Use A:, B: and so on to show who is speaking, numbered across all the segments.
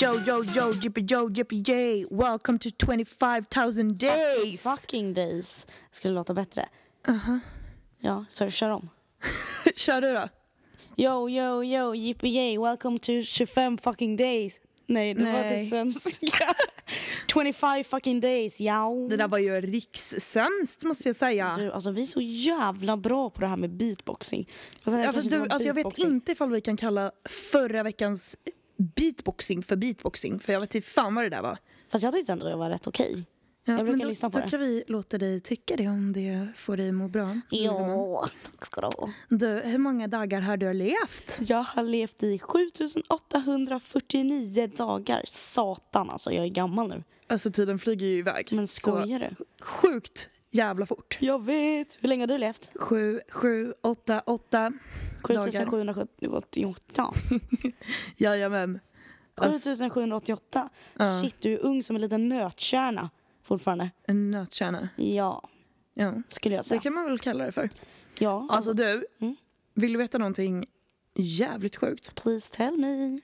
A: Yo, yo, yo, jippy, yo, jippy, yay. Welcome to 25,000 days.
B: Fucking days skulle låta bättre.
A: Uh-huh.
B: Ja, så kör om.
A: Kör du då.
B: Yo, yo, yo, yippee yay, welcome to 25 fucking days. Nej, det var
A: Nej.
B: typ svenska. 25 fucking days, ja.
A: Det där var ju rikssämst måste jag säga.
B: Du, alltså vi är så jävla bra på det här med beatboxing. Alltså, det här
A: Ja, fast
B: kanske
A: du,
B: var
A: alltså jag vet
B: beatboxing.
A: inte ifall vi kan kalla förra veckans beatboxing för beatboxing. För jag vet inte fan vad det där var.
B: Fast jag tyckte ändå det var rätt
A: Mm,
B: okej.
A: Ja,
B: jag brukar
A: men då,
B: lyssna på
A: Då
B: det.
A: kan vi låta dig tycka det om det får dig må bra. Mm.
B: Ja, tack ska du ha.
A: Du, hur många dagar har du levt?
B: Jag har levt i 7849 dagar. Satan alltså, jag är gammal nu.
A: Alltså tiden flyger ju iväg.
B: Men
A: Så
B: skojar du?
A: Sjukt jävla fort.
B: Jag vet. Hur länge har du levt?
A: Sju, sju, åtta, åtta. dagar.
B: 7788.
A: Jajamän. Alltså,
B: 7788.
A: Ja.
B: Shit, du är ung som en liten nötkärna fortfarande.
A: en nötkärna.
B: Ja,
A: Ja.
B: skulle jag
A: Det
B: säga.
A: kan man väl kalla det för.
B: Ja,
A: Alltså du,
B: Mm.
A: vill du veta någonting jävligt sjukt?
B: please tell me.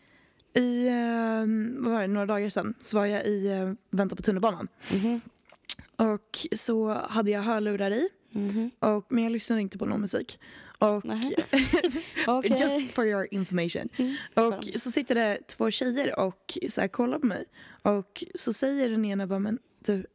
A: I, eh, vad var det, några dagar sedan så var jag i eh, Vänta på tunnelbanan.
B: Mhm.
A: Och så hade jag hörlurar i,
B: Mhm.
A: och, men jag lyssnade inte på någon musik. Och
B: Nej. Okej. Mm,
A: Just for your information. och
B: skönt.
A: så sitter det två tjejer och så här kollar på mig. Och så säger den ena bara, men du, är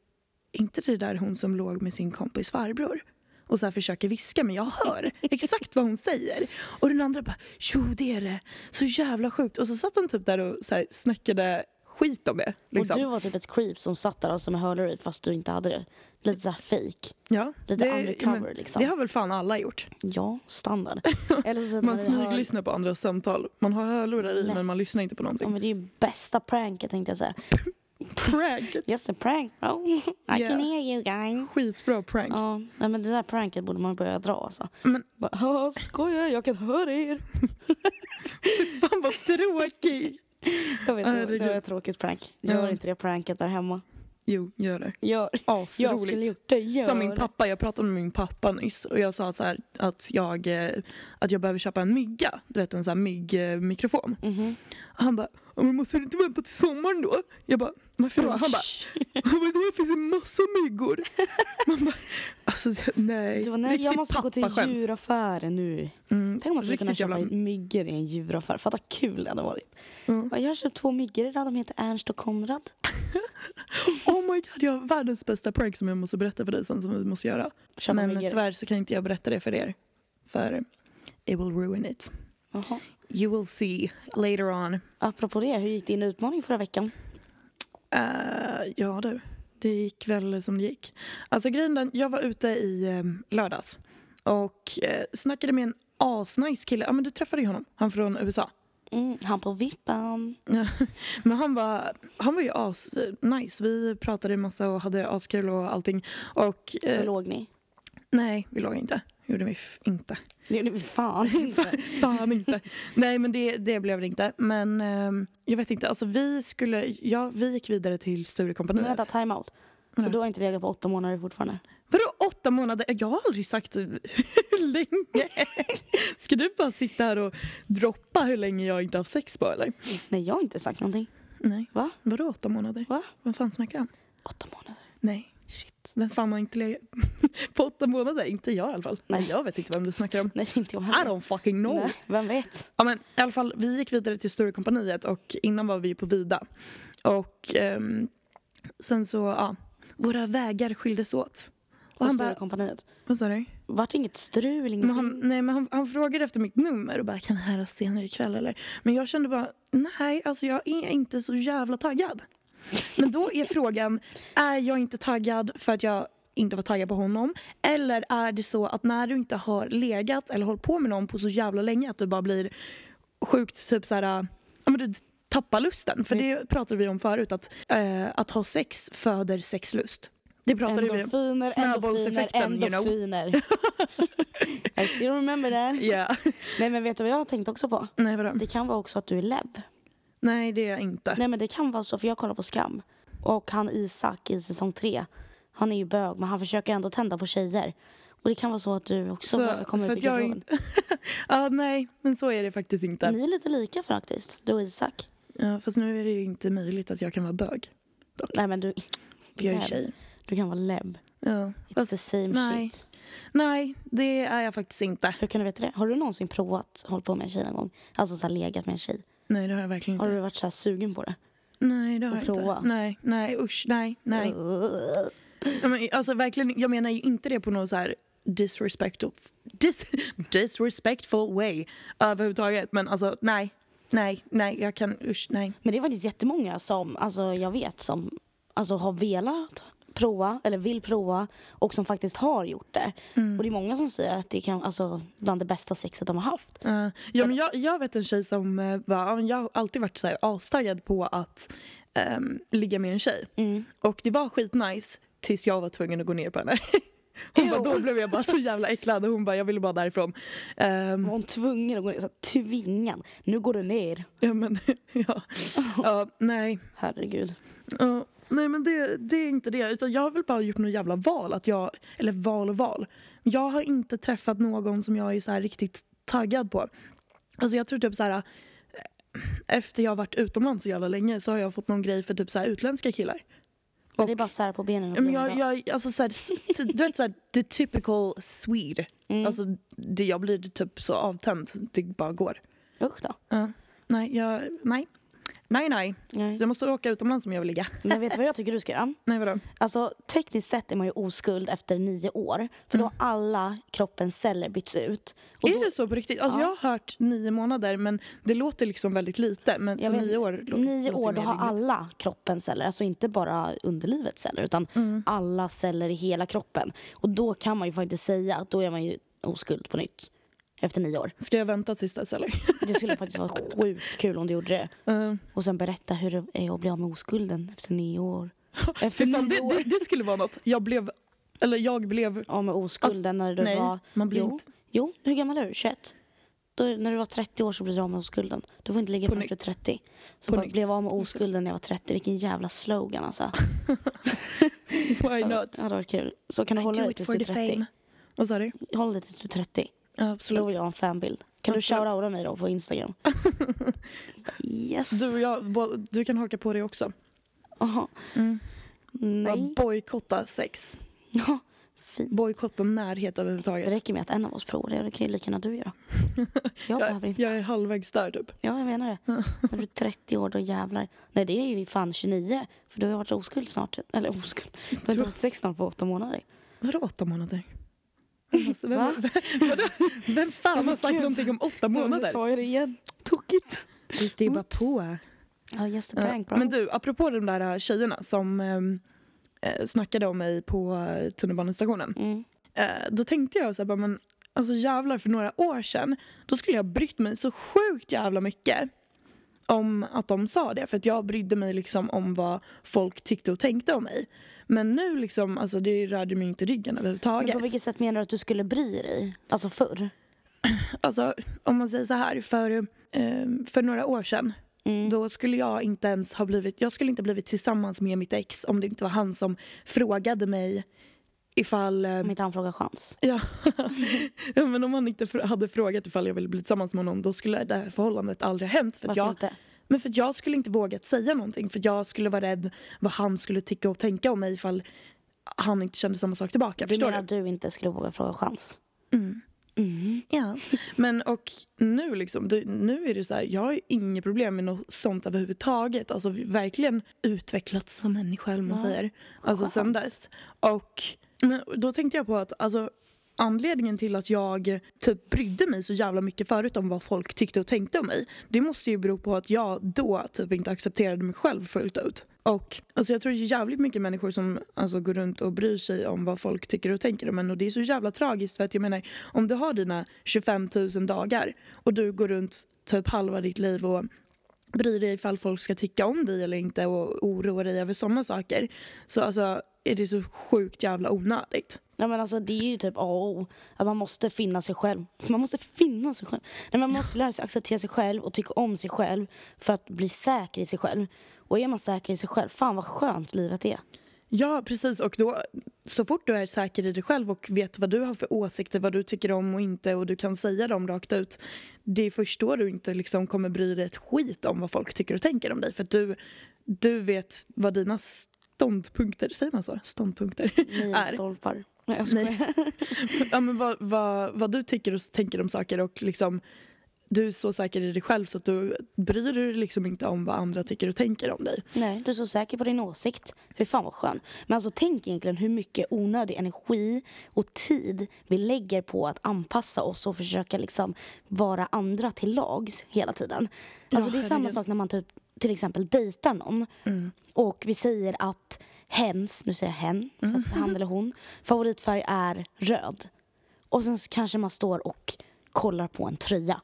A: inte det där hon som låg med sin kompis farbror? Och så här försöker viska, men jag hör exakt vad hon säger. Och den andra bara, jo det är det. Så jävla sjukt. Och så satt han typ där och så här snackade skit om det. Liksom.
B: Och du var typ ett creep som satt där som hörlurar i fast du inte hade det. Lite såhär fake.
A: ja,
B: lite undercover, liksom.
A: Det har väl fan alla gjort.
B: Ja, standard. Eller så sätter
A: Man
B: i hör-
A: smyglyssnar på andras samtal. Man har hörlurar i, men man lyssnar inte på
B: Ja,
A: någonting.
B: men det är ju bästa pranket tänkte jag säga.
A: Prank!
B: Yes, a prank. Oh, I
A: Yeah.
B: can hear you guys.
A: Skitbra prank.
B: Ja, nej, men det där pranket borde man börja dra alltså.
A: Men-
B: Bara, "Haha, skoja, jag kan höra er.
A: Fan vad tråkig!
B: Jag vet, det var- det
A: Herregud.
B: var ett tråkigt prank.
A: Ja.
B: Gör inte det pranket där hemma.
A: Jo, gör det.
B: Gör. Jag skulle
A: Asroligt.
B: gjort det. Gör.
A: Som min pappa, jag pratade med min pappa nyss och jag sa så här att jag, eh, att jag behöver köpa en mygga. Du vet en sån här myggmikrofon.
B: Mhm.
A: Han bara, "Ja, men måste du inte vänta till sommaren då? Jag bara, varför då? Han bara, "Ja, men då finns det massa myggor. Man bara, alltså nej.
B: Du bara, nej, jag
A: Riktigt
B: måste gå till
A: pappaskämt.
B: djuraffären nu.
A: Mm,
B: Tänk om man skulle kunna
A: riktigt
B: köpa
A: jävla...
B: myggor i en djuraffär. Fatta kul det hade varit.
A: Ja.
B: Jag har köpt två myggor idag. De heter Ernst och Konrad.
A: Oh my god, jag har världens bästa prank som jag måste berätta för dig sen som vi måste göra.
B: Köpa
A: men
B: myggor.
A: tyvärr så kan inte jag berätta det för er. För it will ruin it.
B: Jaha.
A: You will see later on.
B: Apropå det, hur gick din utmaning förra veckan?
A: Eh, ja du, det gick väl som det gick. Alltså grejen den, jag var ute i eh, lördags och eh, snackade med en asnice kille. Ja men du träffade ju honom, han från USA.
B: Mm, han på vippen.
A: Men han var, han var ju asnice. Vi pratade massa och hade askul och allting. Och
B: Så
A: eh,
B: låg ni.
A: nej, vi låg inte. gjorde vi f- inte.
B: Det gjorde vi fan inte.
A: Fan inte. Nej men det, det blev det inte. Men ehm, jag vet inte, alltså vi skulle, ja vi gick vidare till
B: Men
A: Sturecompagniet.
B: vänta, time-out. Så
A: Mm.
B: du har inte legat på åtta månader fortfarande?
A: Vadå åtta månader? Jag har aldrig sagt hur länge. Ska du bara sitta här och droppa hur länge jag inte har haft sex på eller?
B: Nej, jag har inte sagt någonting.
A: Nej.
B: Va?
A: Vadå åtta månader?
B: Va?
A: Vad fan snackar du om?
B: Åtta månader.
A: Nej. Shit. Vem fan har inte legat på åtta månader? Inte jag i alla fall.
B: Nej.
A: Jag vet inte vem du snackar om.
B: Nej, inte jag
A: I
B: heller.
A: don't fucking know.
B: Nej, vem vet?
A: Ja, men, i alla fall, vi gick vidare till Stora kompaniet och innan var vi på Vida. Och ehm, sen så, ja, våra vägar skildes åt. Och
B: Och
A: han
B: Stora
A: bara,
B: kompaniet.
A: vad sa du?
B: Vart det inget strul? Inget...
A: Men han, nej, men han, han frågade efter mitt nummer och bara kan jag höras senare ikväll eller? Men jag kände bara nej, alltså jag är inte så jävla taggad. Men då är frågan, är jag inte taggad för att jag inte var taggad på honom? Eller är det så att när du inte har legat eller hållit på med någon på så jävla länge att du bara blir sjukt typ så här, ja men du tappar lusten. För det pratade vi om förut, att, eh, att ha sex föder sexlust. Det pratade vi om.
B: Endorfiner, endorfiner,
A: Snöbollseffekten, you know.
B: endorfiner. I still remember that.
A: Yeah.
B: Nej, men vet du vad jag har tänkt också på?
A: Nej vadå?
B: Det kan vara också att du är lebb.
A: Äh. Nej det är jag inte.
B: Nej, men det kan vara så, för jag kollar på Skam. Och han Isak i säsong tre, han är ju bög, men han försöker ändå tända på tjejer. Och det kan vara så att du också
A: Så,
B: behöver komma
A: för
B: ut i
A: att jag är
B: garderoben.
A: Ja, nej, men så är det faktiskt inte.
B: Ni är lite lika faktiskt, du och Isak.
A: Ja, fast nu är det ju inte möjligt att jag kan vara bög.
B: Nej men du,
A: För jag är ju
B: Nej.
A: tjej.
B: du kan vara lebb.
A: Ja,
B: It's the
A: fast,
B: same
A: nej.
B: shit.
A: nej, det är jag faktiskt inte.
B: Hur kan du veta det? Har du någonsin provat hålla på med en tjej någon gång? Alltså så här, legat med en tjej?
A: Nej, det har jag verkligen
B: Har
A: inte.
B: du varit så här, sugen på det?
A: Nej, det har
B: Och
A: jag inte.
B: prova.
A: Nej, nej, usch, nej, nej. Ja, men, alltså, verkligen, jag menar ju inte det på något så här disrespectful, dis, disrespectful way överhuvudtaget. Men alltså, nej, nej, nej, jag kan, usch, nej.
B: Men det är faktiskt jättemånga som alltså, jag vet som alltså, har velat prova eller vill prova och som faktiskt har gjort det.
A: Mm.
B: Och det är många som säger att det kan alltså bland det bästa sexet de har haft.
A: Eh, ja, men jag, jag vet en tjej som eh, bara, ja, men jag har alltid varit så här astaggad på att ehm, ligga med en tjej. Och det var skitnice tills jag var tvungen att gå ner på henne. Hon bara,
B: Ew.
A: då blev jag bara så jävla äcklad och hon bara, jag ville bara därifrån. Ehm,
B: Var hon tvungen att gå ner? Så här, tvingad. Nu går du ner.
A: ja, men, ja. ja, nej.
B: Herregud.
A: Ja, nej men det, det är inte det. Utan jag har väl bara gjort något jävla val. Att jag, eller val och val. Jag har inte träffat någon som jag är så här riktigt taggad på. Alltså jag tror typ så här... eh, Efter jag har varit utomlands så jävla länge så har jag fått någon grej för typ så här utländska killar.
B: Men
A: Och-
B: det är bara sär på benen. och
A: Ja, Men
B: benen
A: jag,
B: bara.
A: jag, alltså så här, s- du vet så här, the typical Swede. Alltså det, jag blir typ så avtänd det bara går.
B: Usch då.
A: Ja. nej, jag, nej. Nej, nej.
B: Nej.
A: Så jag måste åka utomlands om jag vill ligga.
B: Men vet du vad jag tycker du ska göra?
A: Nej, vadå?
B: Alltså, tekniskt sett är man ju oskuld efter nio år. För då har alla kroppens celler bytts ut. Och
A: Mm. är
B: då-
A: det så på riktigt? Alltså, Jag har hört nio månader, men det låter liksom väldigt lite. Men
B: Jag
A: så
B: vet-
A: nio år lå-
B: Nio
A: låter
B: år, då
A: mer
B: har
A: rimligt.
B: alla kroppens celler, alltså inte bara underlivets celler utan
A: Mm.
B: alla celler i hela kroppen. Och då kan man ju faktiskt säga att då är man ju oskuld på nytt efter nio år.
A: Ska jag vänta tills dess eller?
B: Det skulle faktiskt vara sjukt kul om du gjorde det.
A: Eh,
B: Och sen berätta hur det är att bli av med oskulden efter nio år. Efter
A: fy fan,
B: nio
A: det,
B: år.
A: det, det skulle vara något. Jag blev... Eller jag blev...
B: Av med oskulden när du
A: nej,
B: var...
A: man blir
B: jo,
A: inte-
B: jo, hur gammal är du? 21? Då, när du var 30 år så blev du av med oskulden. Du får inte ligga
A: På
B: förrän du är
A: nytt.
B: 30. Så
A: På
B: bara,
A: nytt.
B: blev av med oskulden när jag var 30. Vilken jävla slogan alltså.
A: Why
B: Ja,
A: not?
B: det hade varit kul. Så kan du hålla dig tills du är 30.
A: Vad sa du?
B: Håll dig tills du är 30.
A: Ja,
B: Då vill
A: absolut.
B: jag ha en fanbild. Kan du
A: Absolut.
B: shoutouta mig då på Instagram? yes.
A: Du och jag, bo- du kan haka på det också.
B: Aha.
A: Mm. Bara
B: Nej.
A: Bojkotta sex.
B: Ja, Fint.
A: Bojkotta närhet
B: Det
A: överhuvudtaget.
B: räcker med att en av oss provar det och det kan ju lika gärna du göra. Jag behöver
A: Jag,
B: inte.
A: jag är halvvägs där typ.
B: Ja, jag menar det. När du är 30 år, då jävlar. Nej, det är ju fan 29. För du har ju varit oskuld snart. Eller oskuld. Du har inte varit sex snart på åtta månader.
A: Vadå åtta månader? Alltså, vem,
B: Va?
A: vem, vadå? vem fan har sagt någonting om åtta månader?
B: jag det igen. Tokigt.
A: Det är bara på.
B: Ja, yes, the prank. Bra.
A: Men du, apropå de där eh, tjejerna som ehm, eh, snackade om mig på eh, tunnelbanestationen.
B: Mm.
A: Eh, då tänkte jag så här, bara, men alltså jävlar för några år sedan då skulle jag ha brytt mig så sjukt jävla mycket om att de sa det. För att jag brydde mig liksom om vad folk tyckte och tänkte om mig. Men nu liksom, alltså det rörde mig inte i ryggen
B: Men
A: överhuvudtaget.
B: på vilket sätt menar du att du skulle bry dig? Alltså
A: Mm.
B: förr?
A: Alltså, om man säger så här, för, eh, för några år sedan då skulle jag inte ens ha blivit, jag skulle inte blivit tillsammans med mitt ex om det inte var han som frågade mig ifall, eh,
B: Om inte han frågar chans.
A: ja, ja, men om han inte fr- hade frågat ifall jag ville bli tillsammans med honom då skulle det här förhållandet aldrig ha hänt. För att
B: Varför
A: jag,
B: inte?
A: Men för att jag skulle inte vågat säga någonting för jag skulle vara rädd vad han skulle tycka och tänka om mig ifall han inte kände samma sak tillbaka.
B: Du
A: förstår
B: menar
A: du?
B: att du inte skulle våga fråga chans?
A: Ja. Men och nu liksom, du, nu är det så här, jag har inget problem med något sånt överhuvudtaget. Alltså verkligen utvecklats som människa eller vad man säger. Alltså sen dess. Och men då tänkte jag på att alltså, anledningen till att jag typ brydde mig så jävla mycket förut om vad folk tyckte och tänkte om mig. Det måste ju bero på att jag då typ inte accepterade mig själv fullt ut. Och alltså jag tror det är jävligt mycket människor som alltså, går runt och bryr sig om vad folk tycker och tänker om en. Och det är så jävla tragiskt för att jag menar om du har dina 25 000 dagar och du går runt typ halva ditt liv och bryr dig ifall folk ska tycka om dig eller inte och oroa dig över sådana saker. Så alltså är det så sjukt jävla onödigt.
B: Ja, men alltså, det är ju typ A och O. Att man måste finna sig själv. Man måste finna sig själv. Nej, man måste lära sig acceptera sig själv och tycka om sig själv för att bli säker i sig själv. Och är man säker i sig själv, fan vad skönt livet är.
A: Ja, precis. Och då, så fort du är säker i dig själv och vet vad du har för åsikter, vad du tycker om och inte och du kan säga dem rakt ut, det är först då du inte liksom kommer bry dig ett skit om vad folk tycker och tänker om dig. För att du, du vet vad dina ståndpunkter, säger man så? Ståndpunkter? Är.
B: Milstolpar. Nej, jag skojar.
A: ja, men vad, vad, vad du tycker och tänker om saker och liksom du är så säker i dig själv så att du bryr dig liksom inte om vad andra tycker och tänker om dig.
B: Nej, du är så säker på din åsikt. Fy fan vad skön. Men alltså tänk egentligen hur mycket onödig energi och tid vi lägger på att anpassa oss och försöka liksom vara andra till lags hela tiden. Alltså det är samma
A: herregud.
B: sak när man typ till exempel dejtar någon och vi säger att hens, nu säger jag hen, för att han eller hon, favoritfärg är röd. Och sen så kanske man står och kollar på en tröja.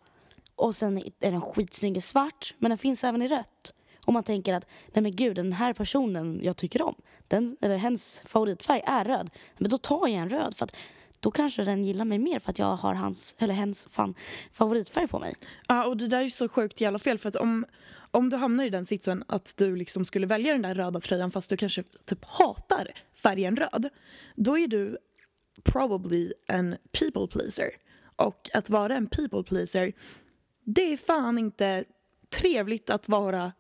B: Och sen är den skitsnygg i svart, men den finns även i rött. Och man tänker att, nej men gud, den här personen jag tycker om, den, eller hens favoritfärg är röd. Men då tar jag en röd för att då kanske den gillar mig mer för att jag har hans, eller hens, fan, favoritfärg på mig.
A: Ja, och det där är så sjukt jävla fel för att om, om du hamnar i den sitsen att du liksom skulle välja den där röda tröjan fast du kanske typ hatar färgen röd, då är du probably en people pleaser. Och att vara en people pleaser, det är fan inte trevligt att vara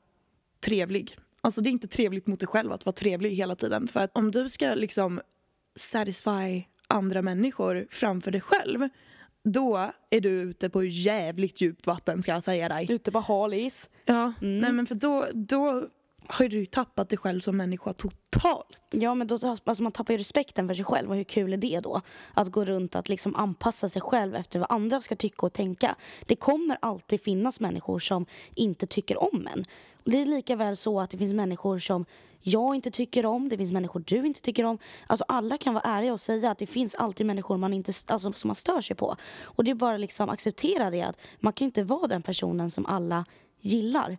A: trevlig. Alltså det är inte trevligt mot dig själv att vara trevlig hela tiden. För att om du ska liksom satisfy andra människor framför dig själv, då är du ute på jävligt djupt vatten ska jag säga dig.
B: Ute på halis.
A: Ja, nej men för då, då har ju du ju tappat dig själv som människa totalt.
B: Ja, men då, alltså man tappar ju respekten för sig själv. Och hur kul är det då? Att gå runt att liksom anpassa sig själv efter vad andra ska tycka och tänka. Det kommer alltid finnas människor som inte tycker om en. Och det är lika väl så att det finns människor som jag inte tycker om, det finns människor du inte tycker om. Alltså alla kan vara ärliga och säga att det finns alltid människor man inte, alltså, som man stör sig på. Och det är bara liksom acceptera det att man kan inte vara den personen som alla gillar.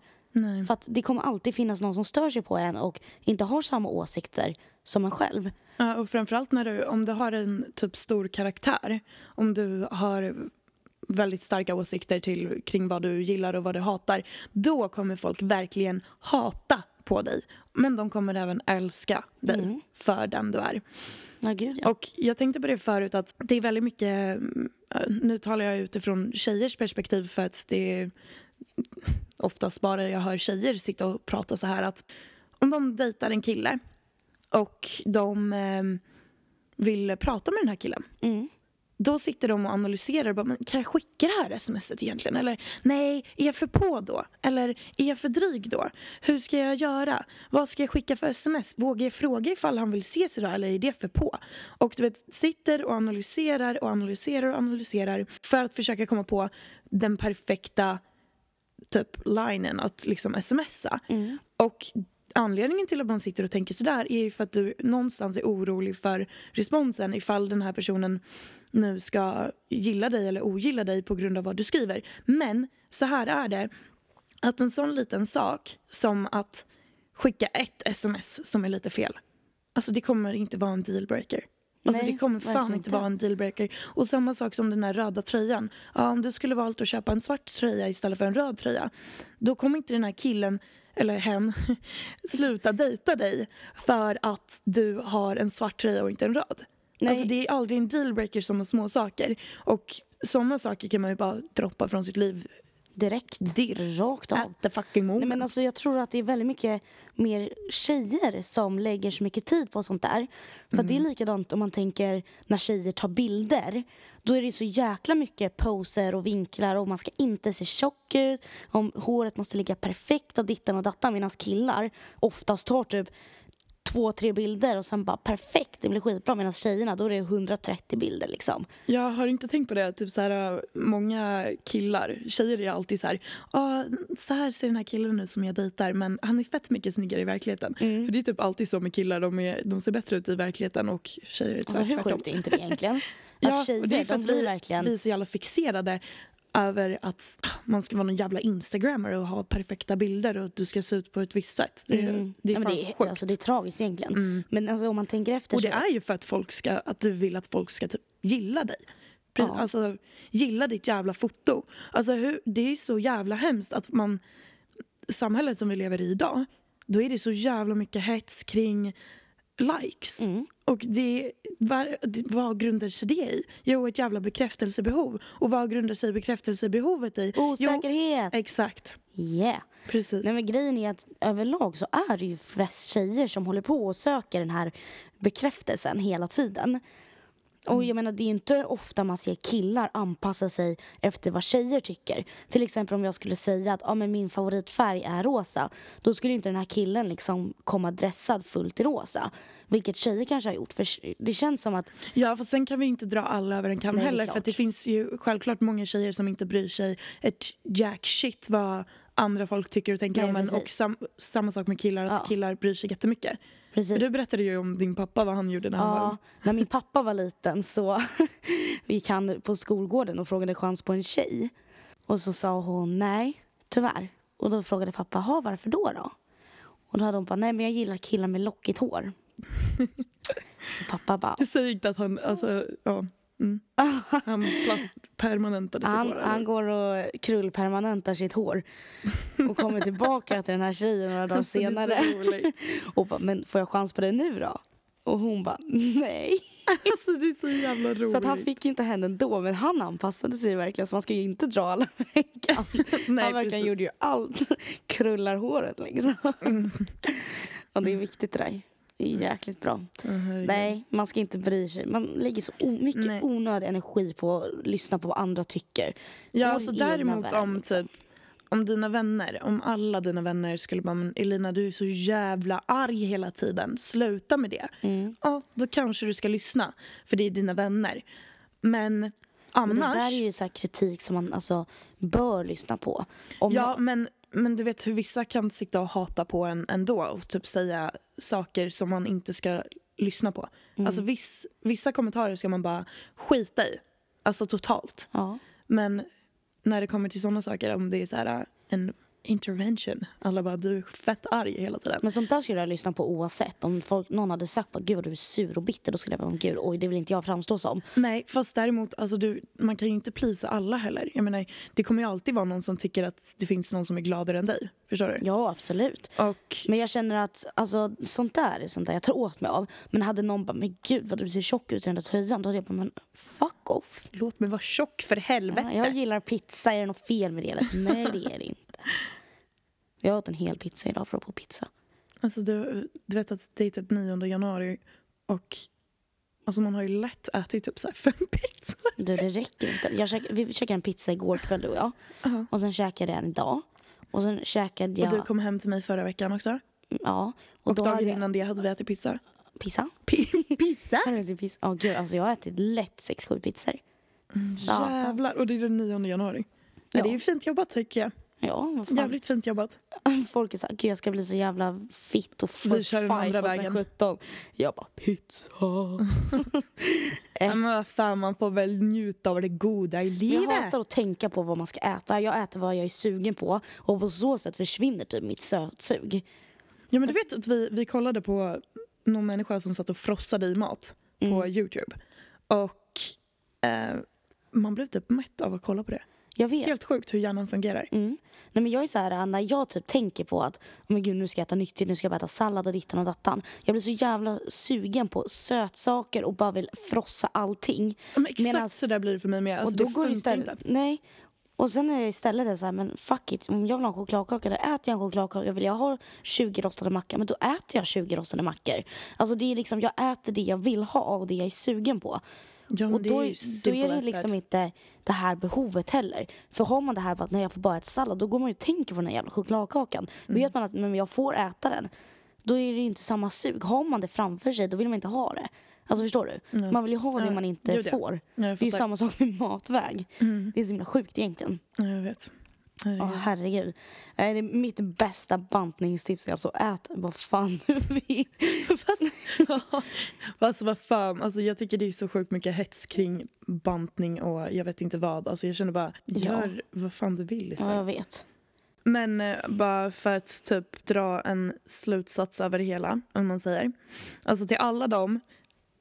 B: För att det kommer alltid finnas någon som stör sig på en och inte har samma åsikter som en själv.
A: Ja, och framförallt när du, om du har en typ stor karaktär, om du har väldigt starka åsikter till, kring vad du gillar och vad du hatar, då kommer folk verkligen hata på dig. Men de kommer även älska dig för den du är.
B: Ja, gud ja.
A: Och jag tänkte på det förut att det är väldigt mycket, mm, nu talar jag utifrån tjejers perspektiv för att det är oftast bara jag hör tjejer sitta och prata så här att om de dejtar en kille och de eh, vill prata med den här killen
B: Mm.
A: då sitter de och analyserar. Bara, men kan jag skicka det här smset egentligen? Eller nej, är jag för på då? Eller är jag för dryg då? Hur ska jag göra? Vad ska jag skicka för sms? Vågar jag fråga ifall han vill ses idag eller är det för på? Och du vet, sitter och analyserar och analyserar och analyserar för att försöka komma på den perfekta typ linen att liksom smsa.
B: Mm.
A: Och anledningen till att man sitter och tänker sådär är ju för att du någonstans är orolig för responsen ifall den här personen nu ska gilla dig eller ogilla dig på grund av vad du skriver. Men så här är det, att en sån liten sak som att skicka ett sms som är lite fel, alltså det kommer inte vara en dealbreaker. Alltså
B: Nej,
A: det kommer fan
B: verkligen
A: inte
B: inte.
A: vara en dealbreaker. Och samma sak som den här röda tröjan. Ja, om du skulle valt att köpa en svart tröja istället för en röd tröja, då kommer inte den här killen eller hen sluta dejta dig för att du har en svart tröja och inte en röd.
B: Nej.
A: Alltså det är aldrig en dealbreaker som är små saker. Och sådana saker kan man ju bara droppa från sitt liv
B: Direkt.
A: Dirr.
B: Rakt av.
A: at the fucking
B: Nej,
A: moment.
B: men alltså, jag tror att det är väldigt mycket mer tjejer som lägger så mycket tid på sånt där. För att det är
A: Mm.
B: likadant om man tänker när tjejer tar bilder. Då är det så jäkla mycket poser och vinklar och man ska inte se tjock ut. Om håret måste ligga perfekt och dittan och dattan. Medan killar oftast tar typ två, tre bilder och sen bara perfekt, det blir skitbra. Medan tjejerna, då är det 130 bilder liksom.
A: Jag har inte tänkt på det. Typ så här, äh, många killar, tjejer är alltid så här, "Ah, så här ser den här killen ut som jag dejtar men han är fett mycket snyggare i verkligheten.
B: Mm.
A: För det är typ alltid så med killar, de, är, de ser bättre ut i verkligheten och tjejer är
B: Alltså hur
A: tvärtom.
B: sjukt är inte det egentligen? Att
A: Ja,
B: tjejer,
A: och det är för
B: de
A: att
B: blir
A: vi,
B: verkligen...
A: vi är så jävla fixerade över att ah, man ska vara någon jävla instagrammare och ha perfekta bilder och att du ska se ut på ett visst sätt. Det, är- det är
B: Mm. Ja,
A: fan
B: men det,
A: sjukt. Mm.
B: är, alltså, det är tragiskt egentligen. Men alltså, om man tänker efter
A: Och det
B: så...
A: är ju för att, folk ska, att du vill att folk ska typ gilla dig. Pre-
B: Ja.
A: Alltså, gilla ditt jävla foto. Alltså, hur, det är så jävla hemskt att man... Samhället som vi lever i idag, då är det så jävla mycket hets kring likes.
B: Mm.
A: Och det, var, det, vad grundar sig det i? Jo, ett jävla bekräftelsebehov. Och vad grundar sig bekräftelsebehovet i?
B: Osäkerhet.
A: Jo, exakt.
B: Yeah.
A: Precis.
B: Nej, men grejen är att överlag så är det ju flest tjejer som håller på och söker den här bekräftelsen hela tiden. Och
A: Mm.
B: jag menar, det är ju inte ofta man ser killar anpassa sig efter vad tjejer tycker. Till exempel om jag skulle säga att ah, men min favoritfärg är rosa. Då skulle inte den här killen liksom komma dressad fullt i rosa. Vilket tjejer kanske har gjort. För det känns som att
A: Ja, för sen kan vi ju inte dra alla över en kam
B: Nej, det är
A: heller. För att det
B: klart.
A: finns ju självklart många tjejer som inte bryr sig ett jack shit vad andra folk tycker och tänker
B: Nej,
A: om en.
B: precis.
A: Och sam, samma sak med killar, att
B: Ja.
A: killar bryr sig jättemycket.
B: precis.
A: Du berättade ju om din pappa, vad han gjorde när han var...
B: Ja, när min pappa var liten så gick han på skolgården och frågade chans på en tjej. Och så sa hon nej, tyvärr. Och då frågade pappa, ha varför då då? Och då hade hon bara, nej men jag gillar killar med lockigt hår. så pappa bara,
A: Jag säger inte att han, alltså, ja. Mm. Han pla- permanentade sitt
B: han,
A: hår.
B: han går och krullpermanentar sitt hår. Och kommer tillbaka till den här tjejen några dagar
A: Alltså, det är så
B: senare.
A: roligt.
B: Och bara, men får jag chans på det nu då? Och hon bara, nej.
A: Alltså det är så jävla roligt.
B: Så att han fick inte henne ändå, men han anpassade sig ju verkligen. Så man ska ju inte dra alla veckan.
A: Nej,
B: han verkligen
A: precis.
B: gjorde ju allt. Krullar håret liksom.
A: Mm.
B: Och det är viktigt det där. Det är jäkligt bra.
A: Ja, herregud.
B: Nej, man ska inte bry sig. Man lägger så o- mycket
A: Nej.
B: onödig energi på att lyssna på vad andra tycker.
A: Ja,
B: Vår
A: alltså
B: egna
A: däremot
B: värld,
A: om
B: liksom.
A: typ om dina vänner, om alla dina vänner skulle bara men Elina du är så jävla arg hela tiden, sluta med det.
B: Mm.
A: Ja, då kanske du ska lyssna för det är dina vänner. Men
B: Men det där
A: annars,
B: är ju så här kritik som man alltså bör lyssna på. Om
A: ja men, men du vet hur vissa kan sitta och hata på en ändå och typ säga saker som man inte ska lyssna på.
B: Mm.
A: Alltså viss, vissa kommentarer ska man bara skita i, alltså totalt.
B: ja.
A: Men när det kommer till såna saker, om det är så här, äh, en intervention, alla bara du är fett arg hela tiden.
B: Men sånt där skulle jag lyssna på oavsett. Om folk, någon hade sagt bara, gud vad du är sur och bitter, då skulle jag bara, "Men gud, oj det vill inte jag framstå som.
A: Nej, fast däremot, alltså du, man kan ju inte plisa alla heller. Jag menar, det kommer ju alltid vara någon som tycker att det finns någon som är gladare än dig. Förstår du?
B: Ja, absolut.
A: Och
B: Men jag känner att alltså, sånt där är sånt där jag tar åt mig av. Men hade någon bara, men gud vad du ser tjock ut i den där tröjan. Då hade jag bara, men fuck off.
A: låt mig vara tjock för helvete.
B: Ja, jag gillar pizza, är det något fel med det? Eller? Nej, det är det inte. Jag åt en hel pizza idag, apropå pizza.
A: Alltså du, du vet att det är typ 9 januari och alltså man har ju lätt ätit typ så här fem pizzor.
B: Du, det räcker inte. Jag käk, vi käkade en pizza igår kväll, du och jag. Och sen käkade jag en idag. Och sen käkade jag...
A: Och du kom hem till mig förra veckan också.
B: ja, och,
A: Och,
B: då hade
A: dagen
B: jag...
A: innan det hade vi ätit pizza.
B: Pizza?
A: Pi- pizza?
B: Hade jag ätit pizza? Ja, gud, alltså jag har ätit lätt sex sju pizzor.
A: Mm.
B: Satan.
A: Jävlar, och det är den 9 januari. Ja. det är ju fint jobbat tycker jag.
B: Ja, vad fan. Eh.
A: Jävligt fint jobbat.
B: Folk är såhär, gud jag ska bli så jävla fit och
A: Du kör den andra vägen. Mm.
B: 2017. Jag bara, pizza.
A: Men vad fan, man får väl njuta av det goda i
B: Jag
A: livet.
B: hatar att tänka på vad man ska äta. Jag äter vad jag är sugen på och på så sätt försvinner typ mitt sötsug.
A: Ja men du vet att vi, vi kollade på någon människa som satt och frossade i mat
B: Mm.
A: på Youtube. Och eh, man blev typ mätt av att kolla på det.
B: Jag vet.
A: Helt sjukt hur hjärnan fungerar.
B: Mm. Nej, men jag är så här, när jag typ tänker på att "Åh, men gud, nu ska jag äta nyttigt, nu ska jag bara äta sallad och dittan och dattan. Jag blir så jävla sugen på sötsaker och bara vill frossa allting.
A: Men exakt
B: Medan-
A: så där blir det för mig med. Alltså,
B: och då
A: det
B: går det
A: funkar
B: istället...
A: inte.
B: Nej. Och sen är jag istället så här, men fuck it. Om jag vill ha en chokladkaka, då äter jag en chokladkaka. Vill jag ha 20 rostade mackor, men då äter jag 20 rostade mackor. Alltså det är liksom, jag äter det jag vill ha och det jag är sugen på.
A: Ja, men
B: och
A: det
B: då,
A: är ju
B: då är
A: simple
B: det
A: as
B: liksom
A: that.
B: inte det här behovet heller. För har man det här att nej, jag får bara äta sallad, då går man ju och tänker på den här jävla chokladkakan.
A: Mm.
B: Vet man att men jag får äta den, då är det ju inte samma sug. Har man det framför sig, då vill man inte ha det. Alltså förstår du? Man vill ju ha det
A: Ja,
B: man inte
A: gud, ja.
B: får.
A: Ja, jag
B: det är ju
A: fattar. Mm.
B: samma sak med matväg. Det är så himla sjukt egentligen.
A: Ja, jag vet. Herregud.
B: Ja, herregud. Eh, Det är mitt bästa bantningstips är alltså ät vad fan du vill.
A: Ja, alltså vad fan, alltså jag tycker det är så sjukt mycket hets kring bantning och jag vet inte vad. Alltså jag känner bara, gör vad fan du vill
B: Ja,
A: istället.
B: jag vet.
A: Men eh, bara för att typ dra en slutsats över det hela, om man säger. Alltså till alla dem,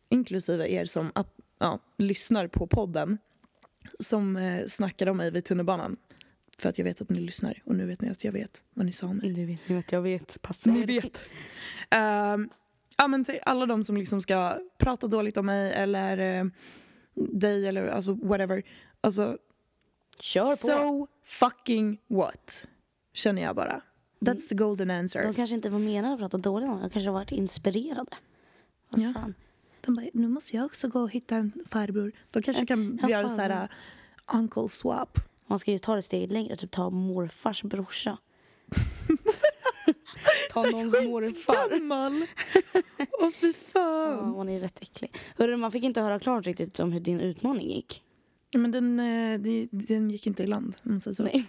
A: inklusive er som app- ja, lyssnar på podden, som eh, snackade om mig vid tunnelbanan. För att jag vet att ni lyssnar och nu vet ni att jag vet vad ni sa om mig.
B: Du vet ju att jag vet. Passa
A: Ni vet. typ. Ehm, Ja, men till alla de som liksom ska prata dåligt om mig eller eh, dig eller alltså, whatever. Alltså,
B: Kör på.
A: so fucking what? Känner jag bara. That's the golden answer.
B: De kanske inte var menade att prata dåligt om det. De kanske har varit inspirerade. Vad
A: Ja.
B: fan.
A: De bara, nu måste jag också gå och hitta en farbror. De kanske kan
B: en
A: göra så här uh, uncle swap.
B: Man ska ju ta det steget längre. Typ ta morfars brorsa. ta någons morfar.
A: Gammal! Åh fy
B: Ja,
A: fan.
B: hon är rätt äcklig. Hörru, man fick inte höra klart riktigt om hur din utmaning gick.
A: Ja, Men den, eh, det- den gick inte i land om man säger så.
B: Nej.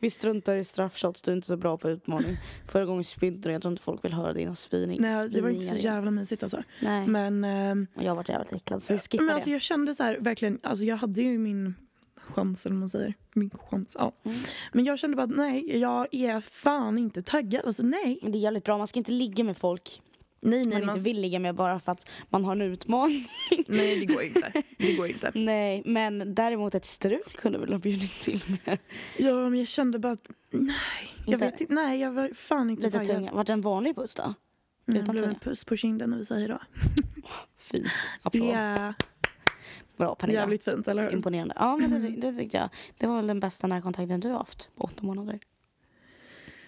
B: Vi struntar i straffshots, du är inte så bra på utmaning. Förra gången spydde du, jag tror inte folk vill höra dina spyning.
A: Nej, det var inte så
B: spyningar.
A: jävla mysigt alltså.
B: Nej,
A: Men, ehm,
B: och jag har varit jävligt äcklad så vi skippar
A: men alltså,
B: det.
A: jag kände så här, verkligen, alltså, jag hade ju min chans eller vad man säger. Min chans, ja.
B: Mm.
A: Men jag kände bara att nej, jag är fan inte taggad. Alltså nej.
B: Men det är jävligt bra, man ska inte ligga med folk
A: Nej,
B: man
A: nej,
B: inte
A: man,
B: vill ligga med bara för att man har en utmaning.
A: nej det går inte. Det går inte.
B: Nej, men däremot ett strul kunde väl ha bjudit till med.
A: Ja, men jag kände bara att nej, jag
B: Inte-
A: vet inte, nej, jag var fan inte
B: Lite
A: taggad.
B: tunga. Vart det en vanlig puss då?
A: Mm, det
B: Utan
A: blev en
B: tunga.
A: puss på kinden när vi säger då.
B: Fint. Applåd.
A: Ja,
B: Bra Pernilla.
A: jävligt fint, eller hur?
B: Imponerande. Ja, men det, det tyckte jag. Det var väl den bästa närkontakten du har haft på åtta månader.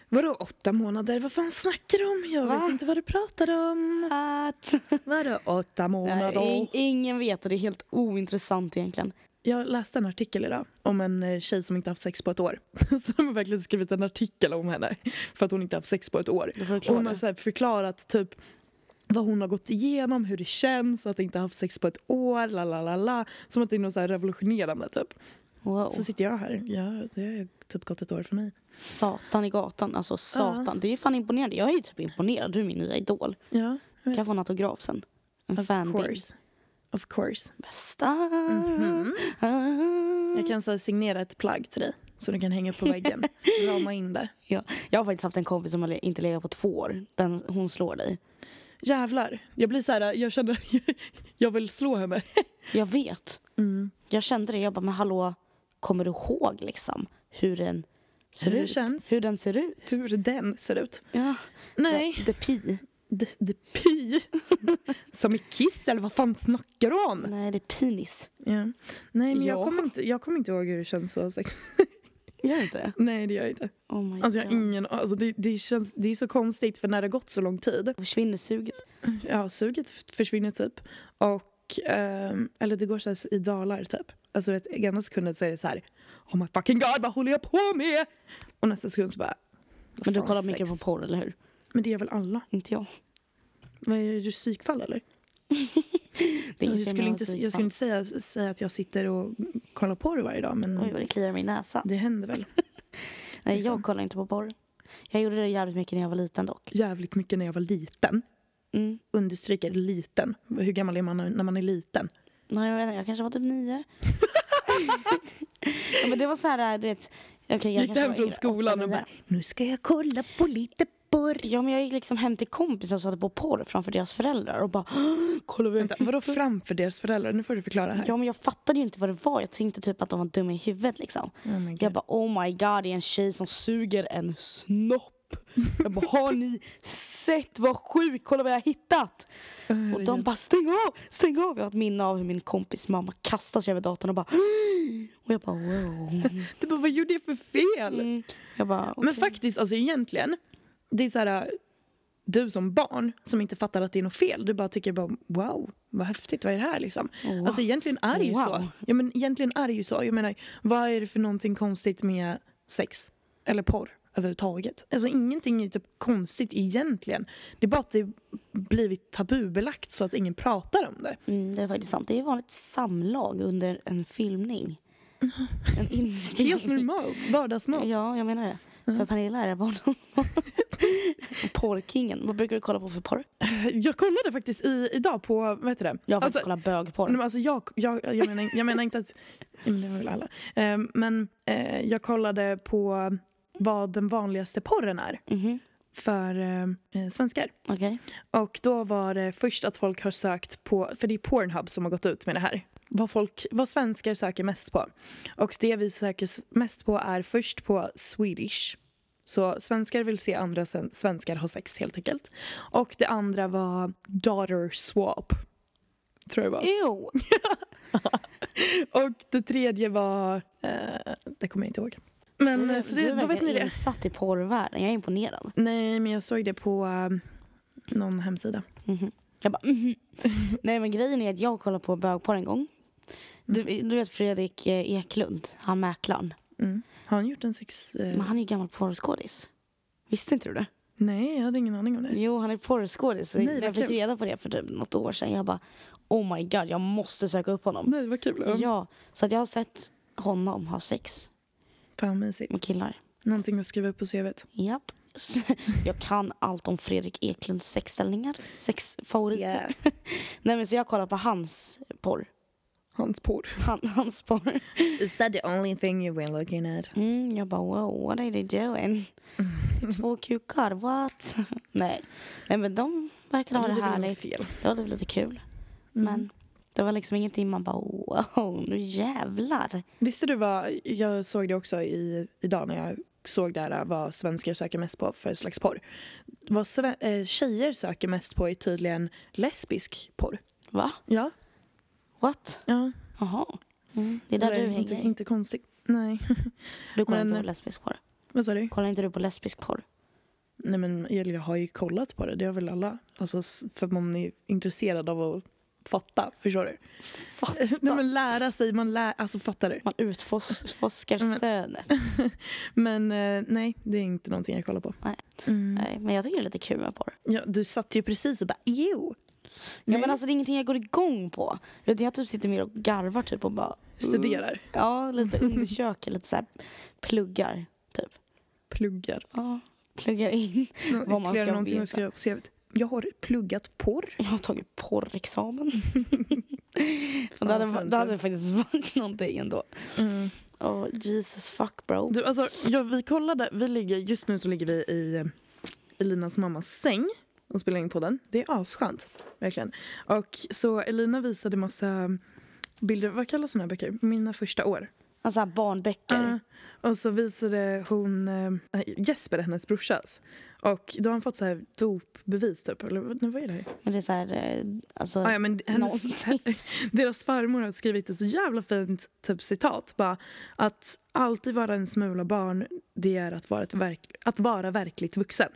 A: Vadå åtta månader? Vad fan snackar du om? Jag
B: Va?
A: vet inte vad du pratar om.
B: Att...
A: Vadå åtta månader?
B: Nej, ing- ingen vet och det är helt ointressant egentligen.
A: Jag läste en artikel idag om en eh, tjej som inte haft sex på ett år. Så de har verkligen skrivit en artikel om henne för att hon inte haft sex på ett år.
B: Du får
A: Och
B: förklara.
A: hon har så här förklarat typ vad hon har gått igenom, hur det känns att inte ha haft sex på ett år, la la la la. Som att det är något så här revolutionerande typ.
B: Wow.
A: Så sitter jag här, ja, det har typ gått ett år för mig.
B: Satan i gatan, alltså satan. Det är fan imponerande. Jag är ju typ imponerad, du är min nya idol.
A: Ja, jag
B: Kan
A: vet.
B: jag få en autograf sen? En Mm.
A: Of
B: fanbild.
A: course. Of course. Mm-hmm.
B: Bästa.
A: Jag kan så här signera ett plagg till dig så du kan hänga upp på väggen. Rama in det.
B: Ja, jag har faktiskt haft en kompis som har le- inte legat på två år. Den, hon slår dig.
A: Jävlar. Jag blir så här, jag känner, jag vill slå henne.
B: Jag vet.
A: Mm.
B: Jag kände det. Jag bara, men hallå, kommer du ihåg liksom hur den ser
A: Hur det
B: ut?
A: känns?
B: Hur den ser ut?
A: Hur den ser ut.
B: Ja.
A: Nej.
B: The pi.
A: Det, det pi. Som- Som i kiss eller vad fan snackar du om?
B: Nej, det är penis.
A: Ja. Nej men jag
B: Ja.
A: kommer, inte, jag kommer inte ihåg hur det känns så sex.
B: Gör inte det?
A: Nej det gör jag inte.
B: Oh my
A: Alltså jag har
B: god.
A: ingen alltså, det, det, känns, det är så konstigt för när det har gått så lång tid
B: Försvinner suget.
A: Ja, suget f- försvinner typ. Och, ehm, eller det går så här i dalar typ. Alltså vet, i ena sekunden så är det så här Oh my fucking god, vad håller jag på med? Och nästa sekund så bara "Vad
B: Men du
A: fan,
B: kollar
A: sex?"
B: mycket på porr, eller hur?
A: Men det gör väl alla?
B: Inte jag.
A: Vad är du psykfall eller?
B: Det är
A: Jag
B: inget fel
A: skulle
B: med
A: inte,
B: att vara
A: jag skulle inte säga, säga att jag sitter och kollar på det varje dag men
B: Oj, vad det kliar i min näsa.
A: det händer väl
B: Nej,
A: Mm, liksom.
B: jag kollar inte på porr. Jag gjorde det jävligt mycket när jag var liten dock.
A: jävligt mycket när jag var liten.
B: Mm.
A: Understryker liten. Hur gammal är man när man är liten?
B: Nej, jag, vet inte, jag kanske var typ nio. ja, men det var så här, du vet. Okay, jag
A: Gick du
B: kanske
A: hem
B: var
A: från
B: i
A: skolan och
B: åttonde.
A: bara nu ska jag kolla på lite porr.
B: Ja, men jag gick liksom hem till kompisar och satte på porr framför deras föräldrar och bara "Åh, kolla vad jag
A: Vänta, vadå framför deras föräldrar? Nu får du förklara här.
B: Ja, men jag fattade ju inte vad det var. Jag tänkte typ att de var dumma i huvudet liksom.
A: Oh my God.
B: jag bara oh my god, det är en tjej som suger en snopp. Jag bara har ni sett vad sjukt, kolla vad jag har hittat. Och de bara stäng av, stäng av. Jag har ett minne av hur min kompis mamma kastar sig över datorn och bara "Åh!" Och jag bara wow.
A: Du bara, vad gjorde jag för fel?
B: Mm. Jag bara okej.
A: Men faktiskt, alltså egentligen, det är så här, du som barn som inte fattar att det är något fel, du bara tycker bara wow, vad häftigt, vad är det här liksom?
B: Wow.
A: Alltså egentligen är det ju så.
B: Wow.
A: Ja men egentligen är det ju så. Jag menar, vad är det för någonting konstigt med sex? Eller porr överhuvudtaget? Alltså ingenting är typ konstigt egentligen. Det är bara att det blivit tabubelagt så att ingen pratar om det.
B: Mm, det är faktiskt sant. Det är ju vanligt samlag under en filmning. En inspelning.
A: Mm. Helt normalt, vardagsmat.
B: Ja, jag menar det.
A: Mm.
B: För Pernilla är det vardagsmat. Porrkingen. Vad brukar du kolla på för porr?
A: Jag kollade faktiskt i, idag på, vad heter det?
B: Jag har faktiskt
A: Alltså,
B: kollat bögporr.
A: Nej, men alltså jag, jag, jag, menar, jag menar inte att... ja, Men det var väl alla. Eh, men eh, jag kollade på vad den vanligaste porren är
B: Mhm.
A: för eh, svenskar.
B: Okej.
A: Och då var det först att folk har sökt på... För det är Pornhub som har gått ut med det här. Vad, folk, vad svenskar söker mest på. Och det vi söker s- mest på är först på Swedish. Så svenskar vill se andra sen- svenskar ha sex helt enkelt. Och det andra var daughter swap. Tror jag det var.
B: Jo.
A: Och det tredje var... Eh, det kommer jag inte ihåg. Men eh, så
B: du
A: det,
B: är
A: då vet ni
B: verkligen
A: det.
B: insatt i porrvärlden. Jag är imponerad.
A: Nej, men jag såg det på eh, någon hemsida.
B: Mhm. Jag bara, mhm. Nej men grejen är att jag kollade på bögporr en gång. Du, du vet Fredrik eh, Eklund, han mäklaren.
A: Mm. Har han gjort en sex... Eh,
B: Men han är ju gammal porrskådis. Visste inte du det?
A: nej, jag hade ingen aning om det.
B: Jo, han är porrskådis.
A: Nej, vad
B: jag fick
A: kul.
B: reda på det för typ något år sedan. Jag bara, oh my god, jag måste söka upp honom.
A: Nej, vad kul. Ja.
B: Ja, så att jag har sett honom ha sex
A: Fan, mysigt.
B: med killar.
A: Någonting att skriva upp på CVt.
B: Japp. Så Jag kan allt om Fredrik Eklunds sexställningar, sexfavoriter.
A: Yeah.
B: Nej men så jag kollar på hans porr.
A: Hans porr.
B: Han, hans porr.
A: Is that the only thing you've been looking at?
B: Mm, jag bara wow, what are they doing? Det är två kukar, what? Nej. Nej men de verkar ha det härligt.
A: Fel. Mm.
B: Det var typ Mm. lite kul. Men det var liksom ingenting man bara wow, nu jävlar.
A: Visste du vad, jag såg det också i, idag när jag såg där vad svenskar söker mest på för slags porr. Vad sve- eh, tjejer söker mest på är tydligen lesbisk porr.
B: Va?
A: Ja.
B: What?
A: ja.
B: Jaha. Mm. Det är där du
A: inte,
B: hänger.
A: inte konstigt. Nej.
B: Du kollar inte
A: men-
B: på lesbisk porr?
A: vad sa du?
B: Kollar inte du på lesbisk porr?
A: Nej men eller jag har ju kollat på det, det har väl alla. Alltså s- för man är intresserad av att fatta, förstår du?
B: Fatta.
A: Nej men lära sig, man lär, alltså fattar du?
B: Man utforskar
A: Men-
B: sönet.
A: Mm. Men eh, nej, det är inte någonting jag kollar på.
B: Nej.
A: Mm.
B: Nej, men jag tycker det är lite kul med porr.
A: Ja, du satt ju precis och bara jo.
B: Ja, men alltså, det är ingenting jag går igång på. Utan jag typ sitter mer och garvar typ och bara...
A: Studerar,
B: Ja, lite undersöker, lite så här pluggar typ.
A: pluggar.
B: Ja, pluggar in.
A: Nå-
B: man
A: Ytterligare
B: ska
A: någonting
B: veta.
A: att skriva på CVt. Jag har pluggat porr.
B: Jag har tagit porrexamen. Och det, hade,
A: fint.
B: det hade faktiskt varit någonting ändå.
A: Mm.
B: Åh, Jesus fuck bro.
A: Du, alltså, ja, vi kollade, vi ligger, just nu så ligger vi i Elinas mammas säng och spelar in podden. Det är asskönt, verkligen. Och så Elina visade massa bilder, vad kallas såna här böcker? Mina första år.
B: Alltså här barnböcker.
A: Ja. och så visade hon eh, Jesper, hennes brorsas. Och då har han fått så här dopbevis typ, eller vad vad är det här?
B: Men det är så här, eh, alltså...
A: Ah, ja, men hennes,
B: någonting.
A: deras farmor har skrivit ett så jävla fint typ, citat. Bara, att alltid vara en smula barn, det är att vara, ett verk- att vara verkligt vuxen.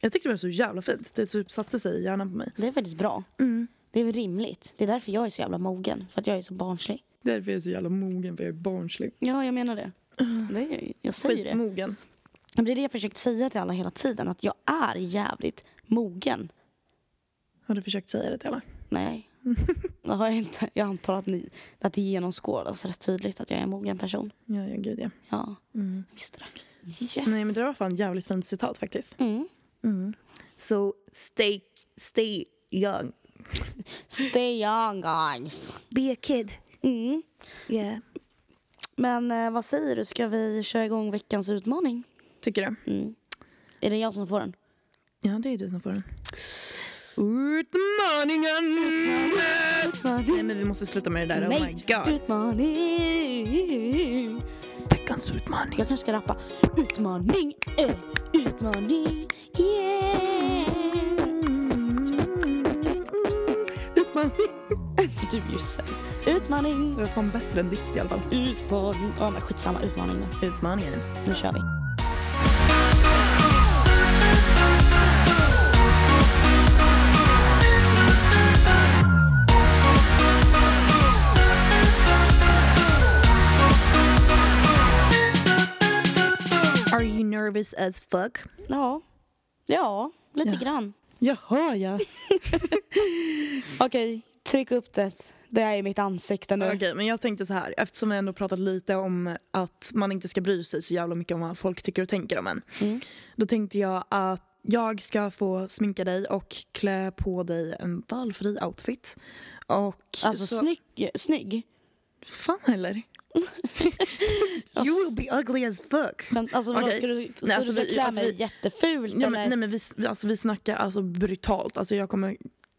A: Jag tyckte det var så jävla fint. Det typ satte sig i hjärnan på mig.
B: Det är faktiskt bra.
A: Mm.
B: Det är väl rimligt. Det är därför jag är så jävla mogen. För att jag är så barnslig.
A: Därför är jag så jävla mogen, för jag är barnslig.
B: Ja, jag menar det.
A: Mm.
B: det är, jag säger det.
A: Skitmogen.
B: Men Det är det jag försökt säga till alla hela tiden. Att jag är jävligt mogen.
A: Har du försökt säga det till alla?
B: Nej.
A: Mm.
B: Det har jag inte. Jag antar att, ni, att det genomskådas rätt tydligt att jag är en mogen person.
A: Ja, ja gud ja.
B: Ja,
A: Mm.
B: jag visste det. Yes.
A: Nej, men det var fan jävligt fint citat faktiskt.
B: Mm.
A: So stay, stay young.
B: Stay young guys.
A: Be a kid.
B: Mm.
A: Yeah.
B: Men eh, vad säger du? Ska vi köra igång veckans utmaning?
A: Tycker du?
B: Mm. Är det jag som får den?
A: Ja, det är du som får den. Utmaningen! Nej, men vi måste sluta med det där. Oh my god.
B: Utmaning!
A: Veckans utmaning.
B: Jag kanske ska rappa. Utmaning, eh, utmaning, yeah!
A: Utmaning.
B: Du är ju sämst. Utmaning,
A: Det var fan bättre än ditt i alla fall.
B: utmaning. Ja, men skitsamma. Utmaning nu.
A: Utmaningen.
B: Nu kör vi.
A: Are you nervous as fuck?
B: Ja, ja lite
A: Ja.
B: grann.
A: Jaha, ja.
B: Okej, tryck upp det. Det är i mitt ansikte nu.
A: Okej, men jag tänkte så här. Eftersom vi ändå pratat lite om att man inte ska bry sig så jävla mycket om vad folk tycker och tänker om en.
B: Mm.
A: Då tänkte jag att jag ska få sminka dig och klä på dig en valfri outfit. Och
B: Alltså
A: så-
B: snygg, snygg.
A: Fan heller. you will be ugly as fuck.
B: Men, alltså, vadå,
A: Okej.
B: ska du, så
A: alltså,
B: du ska
A: vi-
B: klä
A: alltså,
B: mig
A: vi-
B: jättefult
A: Ja, men,
B: eller?
A: nej men vi, vi- alltså, vi snackar alltså brutalt. Alltså jag kommer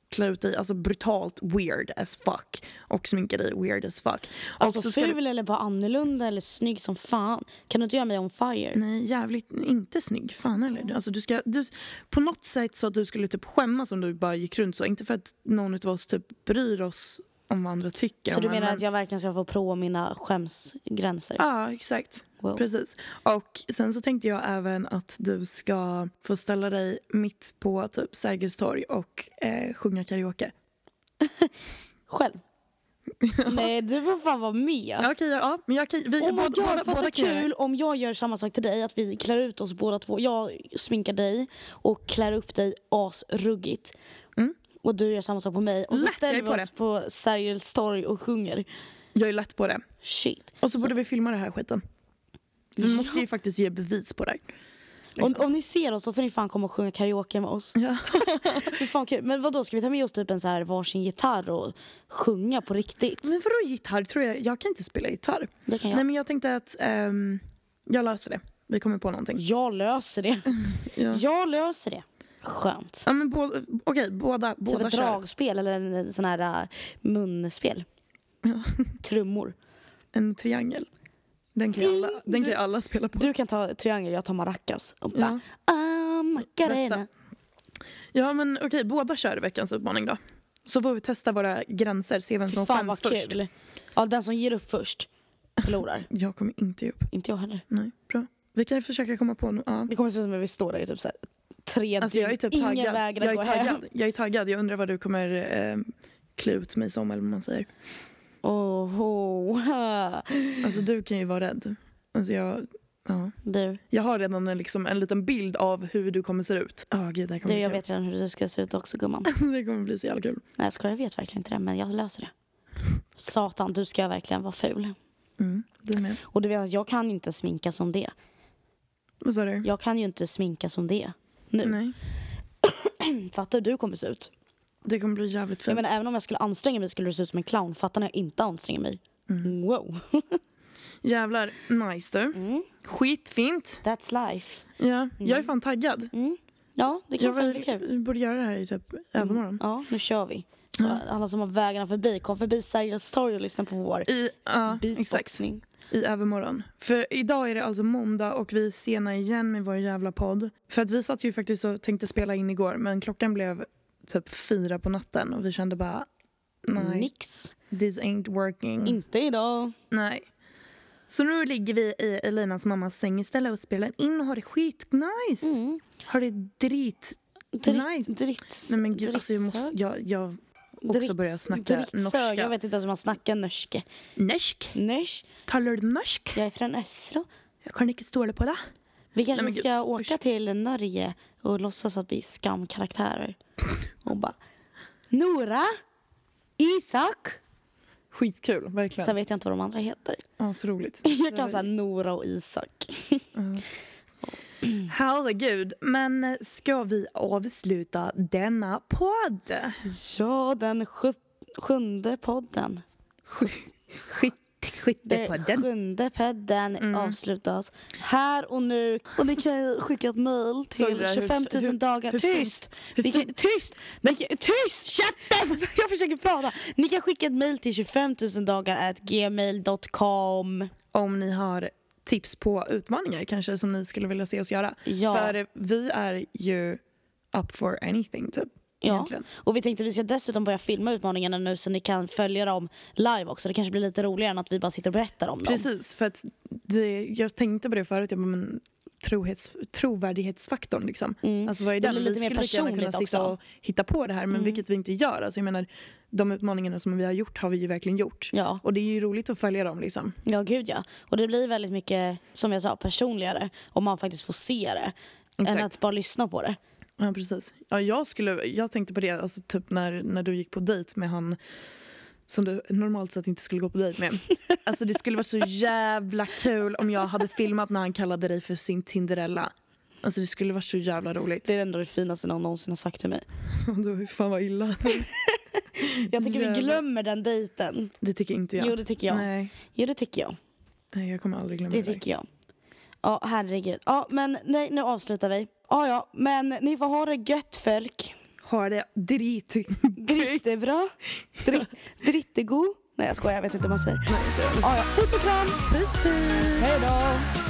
A: klä ut dig alltså brutalt weird as fuck och sminka dig weird as fuck. Och
B: Alltså
A: så ska du-
B: ful eller bara annorlunda eller snygg som fan. Kan du inte göra mig on fire?
A: Nej, jävligt inte snygg. Fan eller? Alltså, du ska, du, på något sätt så att du skulle typ skämmas om du bara gick runt så. Inte för att någon av oss typ bryr oss om vad andra tycker.
B: Så du
A: om
B: menar
A: andra-
B: att jag verkligen ska få prova mina skämsgränser?
A: Ja, exakt.
B: Wow.
A: Precis. Och sen så tänkte jag även att du ska få ställa dig mitt på typ Sergels torg och eh, sjunga karaoke.
B: Själv? Nej, du får fan vara med.
A: Ja, okej, ja, men jag kan, vi,
B: Oh my
A: båda- båda-
B: god,
A: båda
B: vad
A: kan göra det.
B: kul om jag gör samma sak till dig. Att vi klär ut oss båda två. Jag sminkar dig och klär upp dig asruggigt. Och du gör samma sak på mig. Och
A: Lätt,
B: så
A: Mm. jag
B: ställer
A: är
B: vi
A: på
B: oss på Sergels torg och sjunger.
A: Jag är lätt på det.
B: Shit.
A: Och så, borde vi filma den här skiten. Vi måste ju faktiskt ge bevis på det här.
B: Om,
A: Liksom.
B: om ni ser oss så får ni fan komma och sjunga karaoke med oss.
A: Ja.
B: Det är fan kul. Men vad då ska vi ta med oss typ en så här varsin gitarr och sjunga på riktigt?
A: Men vadå gitarr? Tror jag, jag kan inte spela gitarr.
B: Det kan
A: Mm.
B: jag.
A: Nej men jag tänkte att ehm, jag löser det. Vi kommer på någonting.
B: Jag löser det.
A: Ja.
B: Jag löser det. Skönt.
A: Ja, men båda, okej, båda,
B: Typ
A: båda
B: ett
A: kör.
B: dragspel eller en eh, sån här eh, munspel. Trummor.
A: En triangel. Den kan ju alla, den kan ju alla spela på.
B: Du kan ta triangel, jag tar maracas. Och
A: Ja.
B: bara, ah, Macarena.
A: Bästa. Ja men okej, båda kör veckans utmaning då. Så får vi testa våra gränser, se vem som
B: Fan vad
A: skäms först.
B: kul. Ja, den som ger upp först förlorar.
A: Jag kommer inte ge upp.
B: Inte jag heller.
A: Nej, bra. Vi kan ju försöka komma på nu. Ja.
B: Det kommer se ut som att vi står där i typ så här, tre
A: Alltså jag är
B: dygn.
A: typ
B: Ingen
A: taggad.
B: vägrar
A: jag, är
B: gå hem.
A: taggad. jag är taggad. Jag undrar vad du kommer eh, klä ut mig som eller vad man säger.
B: Oh,
A: Alltså du kan ju vara rädd. Alltså jag, ja.
B: Du,
A: Jag har redan en, liksom, en liten bild av hur du kommer se ut. Oh, gud, det här kommer
B: du,
A: bli
B: jag
A: kul.
B: vet redan hur du ska se ut också gumman.
A: Det kommer bli så jävla kul.
B: Nej jag skojar, jag vet verkligen inte det men jag löser det. Satan, du ska verkligen vara ful.
A: Mm, du med.
B: Och du vet att jag kan inte sminka som det.
A: Vad sa du?
B: Jag kan ju inte sminka som det nu.
A: Nej.
B: Fattar hur du kommer se ut?
A: Det kommer bli jävligt
B: Jag
A: fint.
B: menar, även om jag skulle anstränga mig skulle det se ut som en clown. Fattar när jag inte anstränger mig? Wow.
A: Mm. Jävlar nice du. Skitfint.
B: Mm. That's life. Mm.
A: Ja, jag är fan taggad.
B: Ja, Mm. det
A: Jag
B: kan fan bli kul. Mm.
A: vill, borde göra det här i typ övermorgon.
B: Ja, nu kör vi. Så alla som har vägarna förbi, kom förbi Sergels torg och lyssna på vår
A: I, ja, exakt.
B: Mm. beatboxning.
A: I övermorgon. För idag är det alltså måndag och vi är sena igen med vår jävla podd. För att vi satt ju faktiskt och tänkte spela in igår men klockan blev typ fyra på natten och vi kände bara nej,
B: Nix.
A: this ain't working.
B: Inte idag.
A: Nej. Så nu ligger vi i Elinas mammas säng istället och spelar in och har det skitnice.
B: Mm.
A: Har det drit... Nej.
B: Dritt, dritt,
A: Nej men gud, alltså jag måste...
B: drittshög.
A: Jag, jag också
B: Dritts-
A: börjar snacka
B: drittshög.
A: norska.
B: Jag vet inte ens hur man snackar norska.
A: Norsk?
B: Nösch.
A: Talar du norsk?
B: Jag är från Östro.
A: Jag kan inte stå på det.
B: Vi kanske
A: men
B: ska
A: gud,
B: åka till Norge och låtsas att vi är skamkaraktärer. Och bara... Nora! Isak!
A: Skitkul, verkligen.
B: Sen vet jag inte vad de andra heter.
A: Ja, så roligt.
B: Jag kan säga Nora och Isak.
A: Herregud, men eh, ska vi avsluta denna podd?
B: Ja, den sju, sjunde podden.
A: Skit,
B: Den
A: skyttepodden.
B: sjunde podden
A: Mm.
B: avslutas här och nu. Och ni kan ju skicka ett mejl
A: Såg du
B: till
A: det? Hur-
B: 25 000
A: hur-
B: dagar.
A: hur-
B: tyst! Ni kan, tyst! Ni kan, tyst! Käften! Jag försöker prata. Ni kan skicka ett mejl till 25 000 dagar at gmail.com.
A: Om ni har tips på utmaningar kanske som ni skulle vilja se oss göra.
B: Ja.
A: För vi är ju up for anything typ.
B: Ja,
A: Egentligen.
B: och vi tänkte vi ska dessutom börja filma utmaningarna nu så ni kan följa dem live också. Det kanske blir lite roligare än att vi bara sitter och berättar om dem.
A: Precis, för att det, jag tänkte på det förut. Jag bara, men, trohets, trovärdighetsfaktorn liksom. Alltså vad är
B: Det
A: den?
B: blir
A: Vi
B: Mm. lite
A: skulle
B: mer
A: lika gärna kunna
B: personligt
A: sitta
B: också. Mm.
A: och hitta på det här men vilket vi inte gör. Alltså, jag menar, de utmaningarna som vi har gjort har vi ju verkligen gjort.
B: Ja.
A: Och det är ju roligt att följa dem liksom.
B: Ja, gud ja. Och det blir väldigt mycket, som jag sa, personligare om man faktiskt får se det.
A: Exakt.
B: Än att bara lyssna på det.
A: Ja, precis. Ja, jag, skulle, jag tänkte på det alltså, typ när, när du gick på dejt med han som du normalt sett inte skulle gå på dejt med. Alltså, det skulle vara så jävla kul om jag hade filmat när han kallade dig för sin Tinderella. Alltså, det skulle vara så jävla roligt.
B: Det är ändå det finaste någon någonsin har sagt till mig.
A: Du, fan vad illa.
B: Jag tycker vi
A: Jävlar.
B: glömmer den dejten.
A: Det tycker inte jag.
B: Jo, det tycker jag.
A: Nej,
B: Jo, det tycker jag.
A: nej jag kommer aldrig glömma
B: Det
A: det. där.
B: tycker jag. Ja, herregud. Ja, men nej, nu avslutar vi. Ja, ja, men ni får ha det gött folk.
A: har det drit.
B: Drittebra. Dritt, drittegod. Nej jag skojar, jag vet inte hur man säger. Ah, ja. Puss och kram.
A: Puss, puss.
B: Hej då.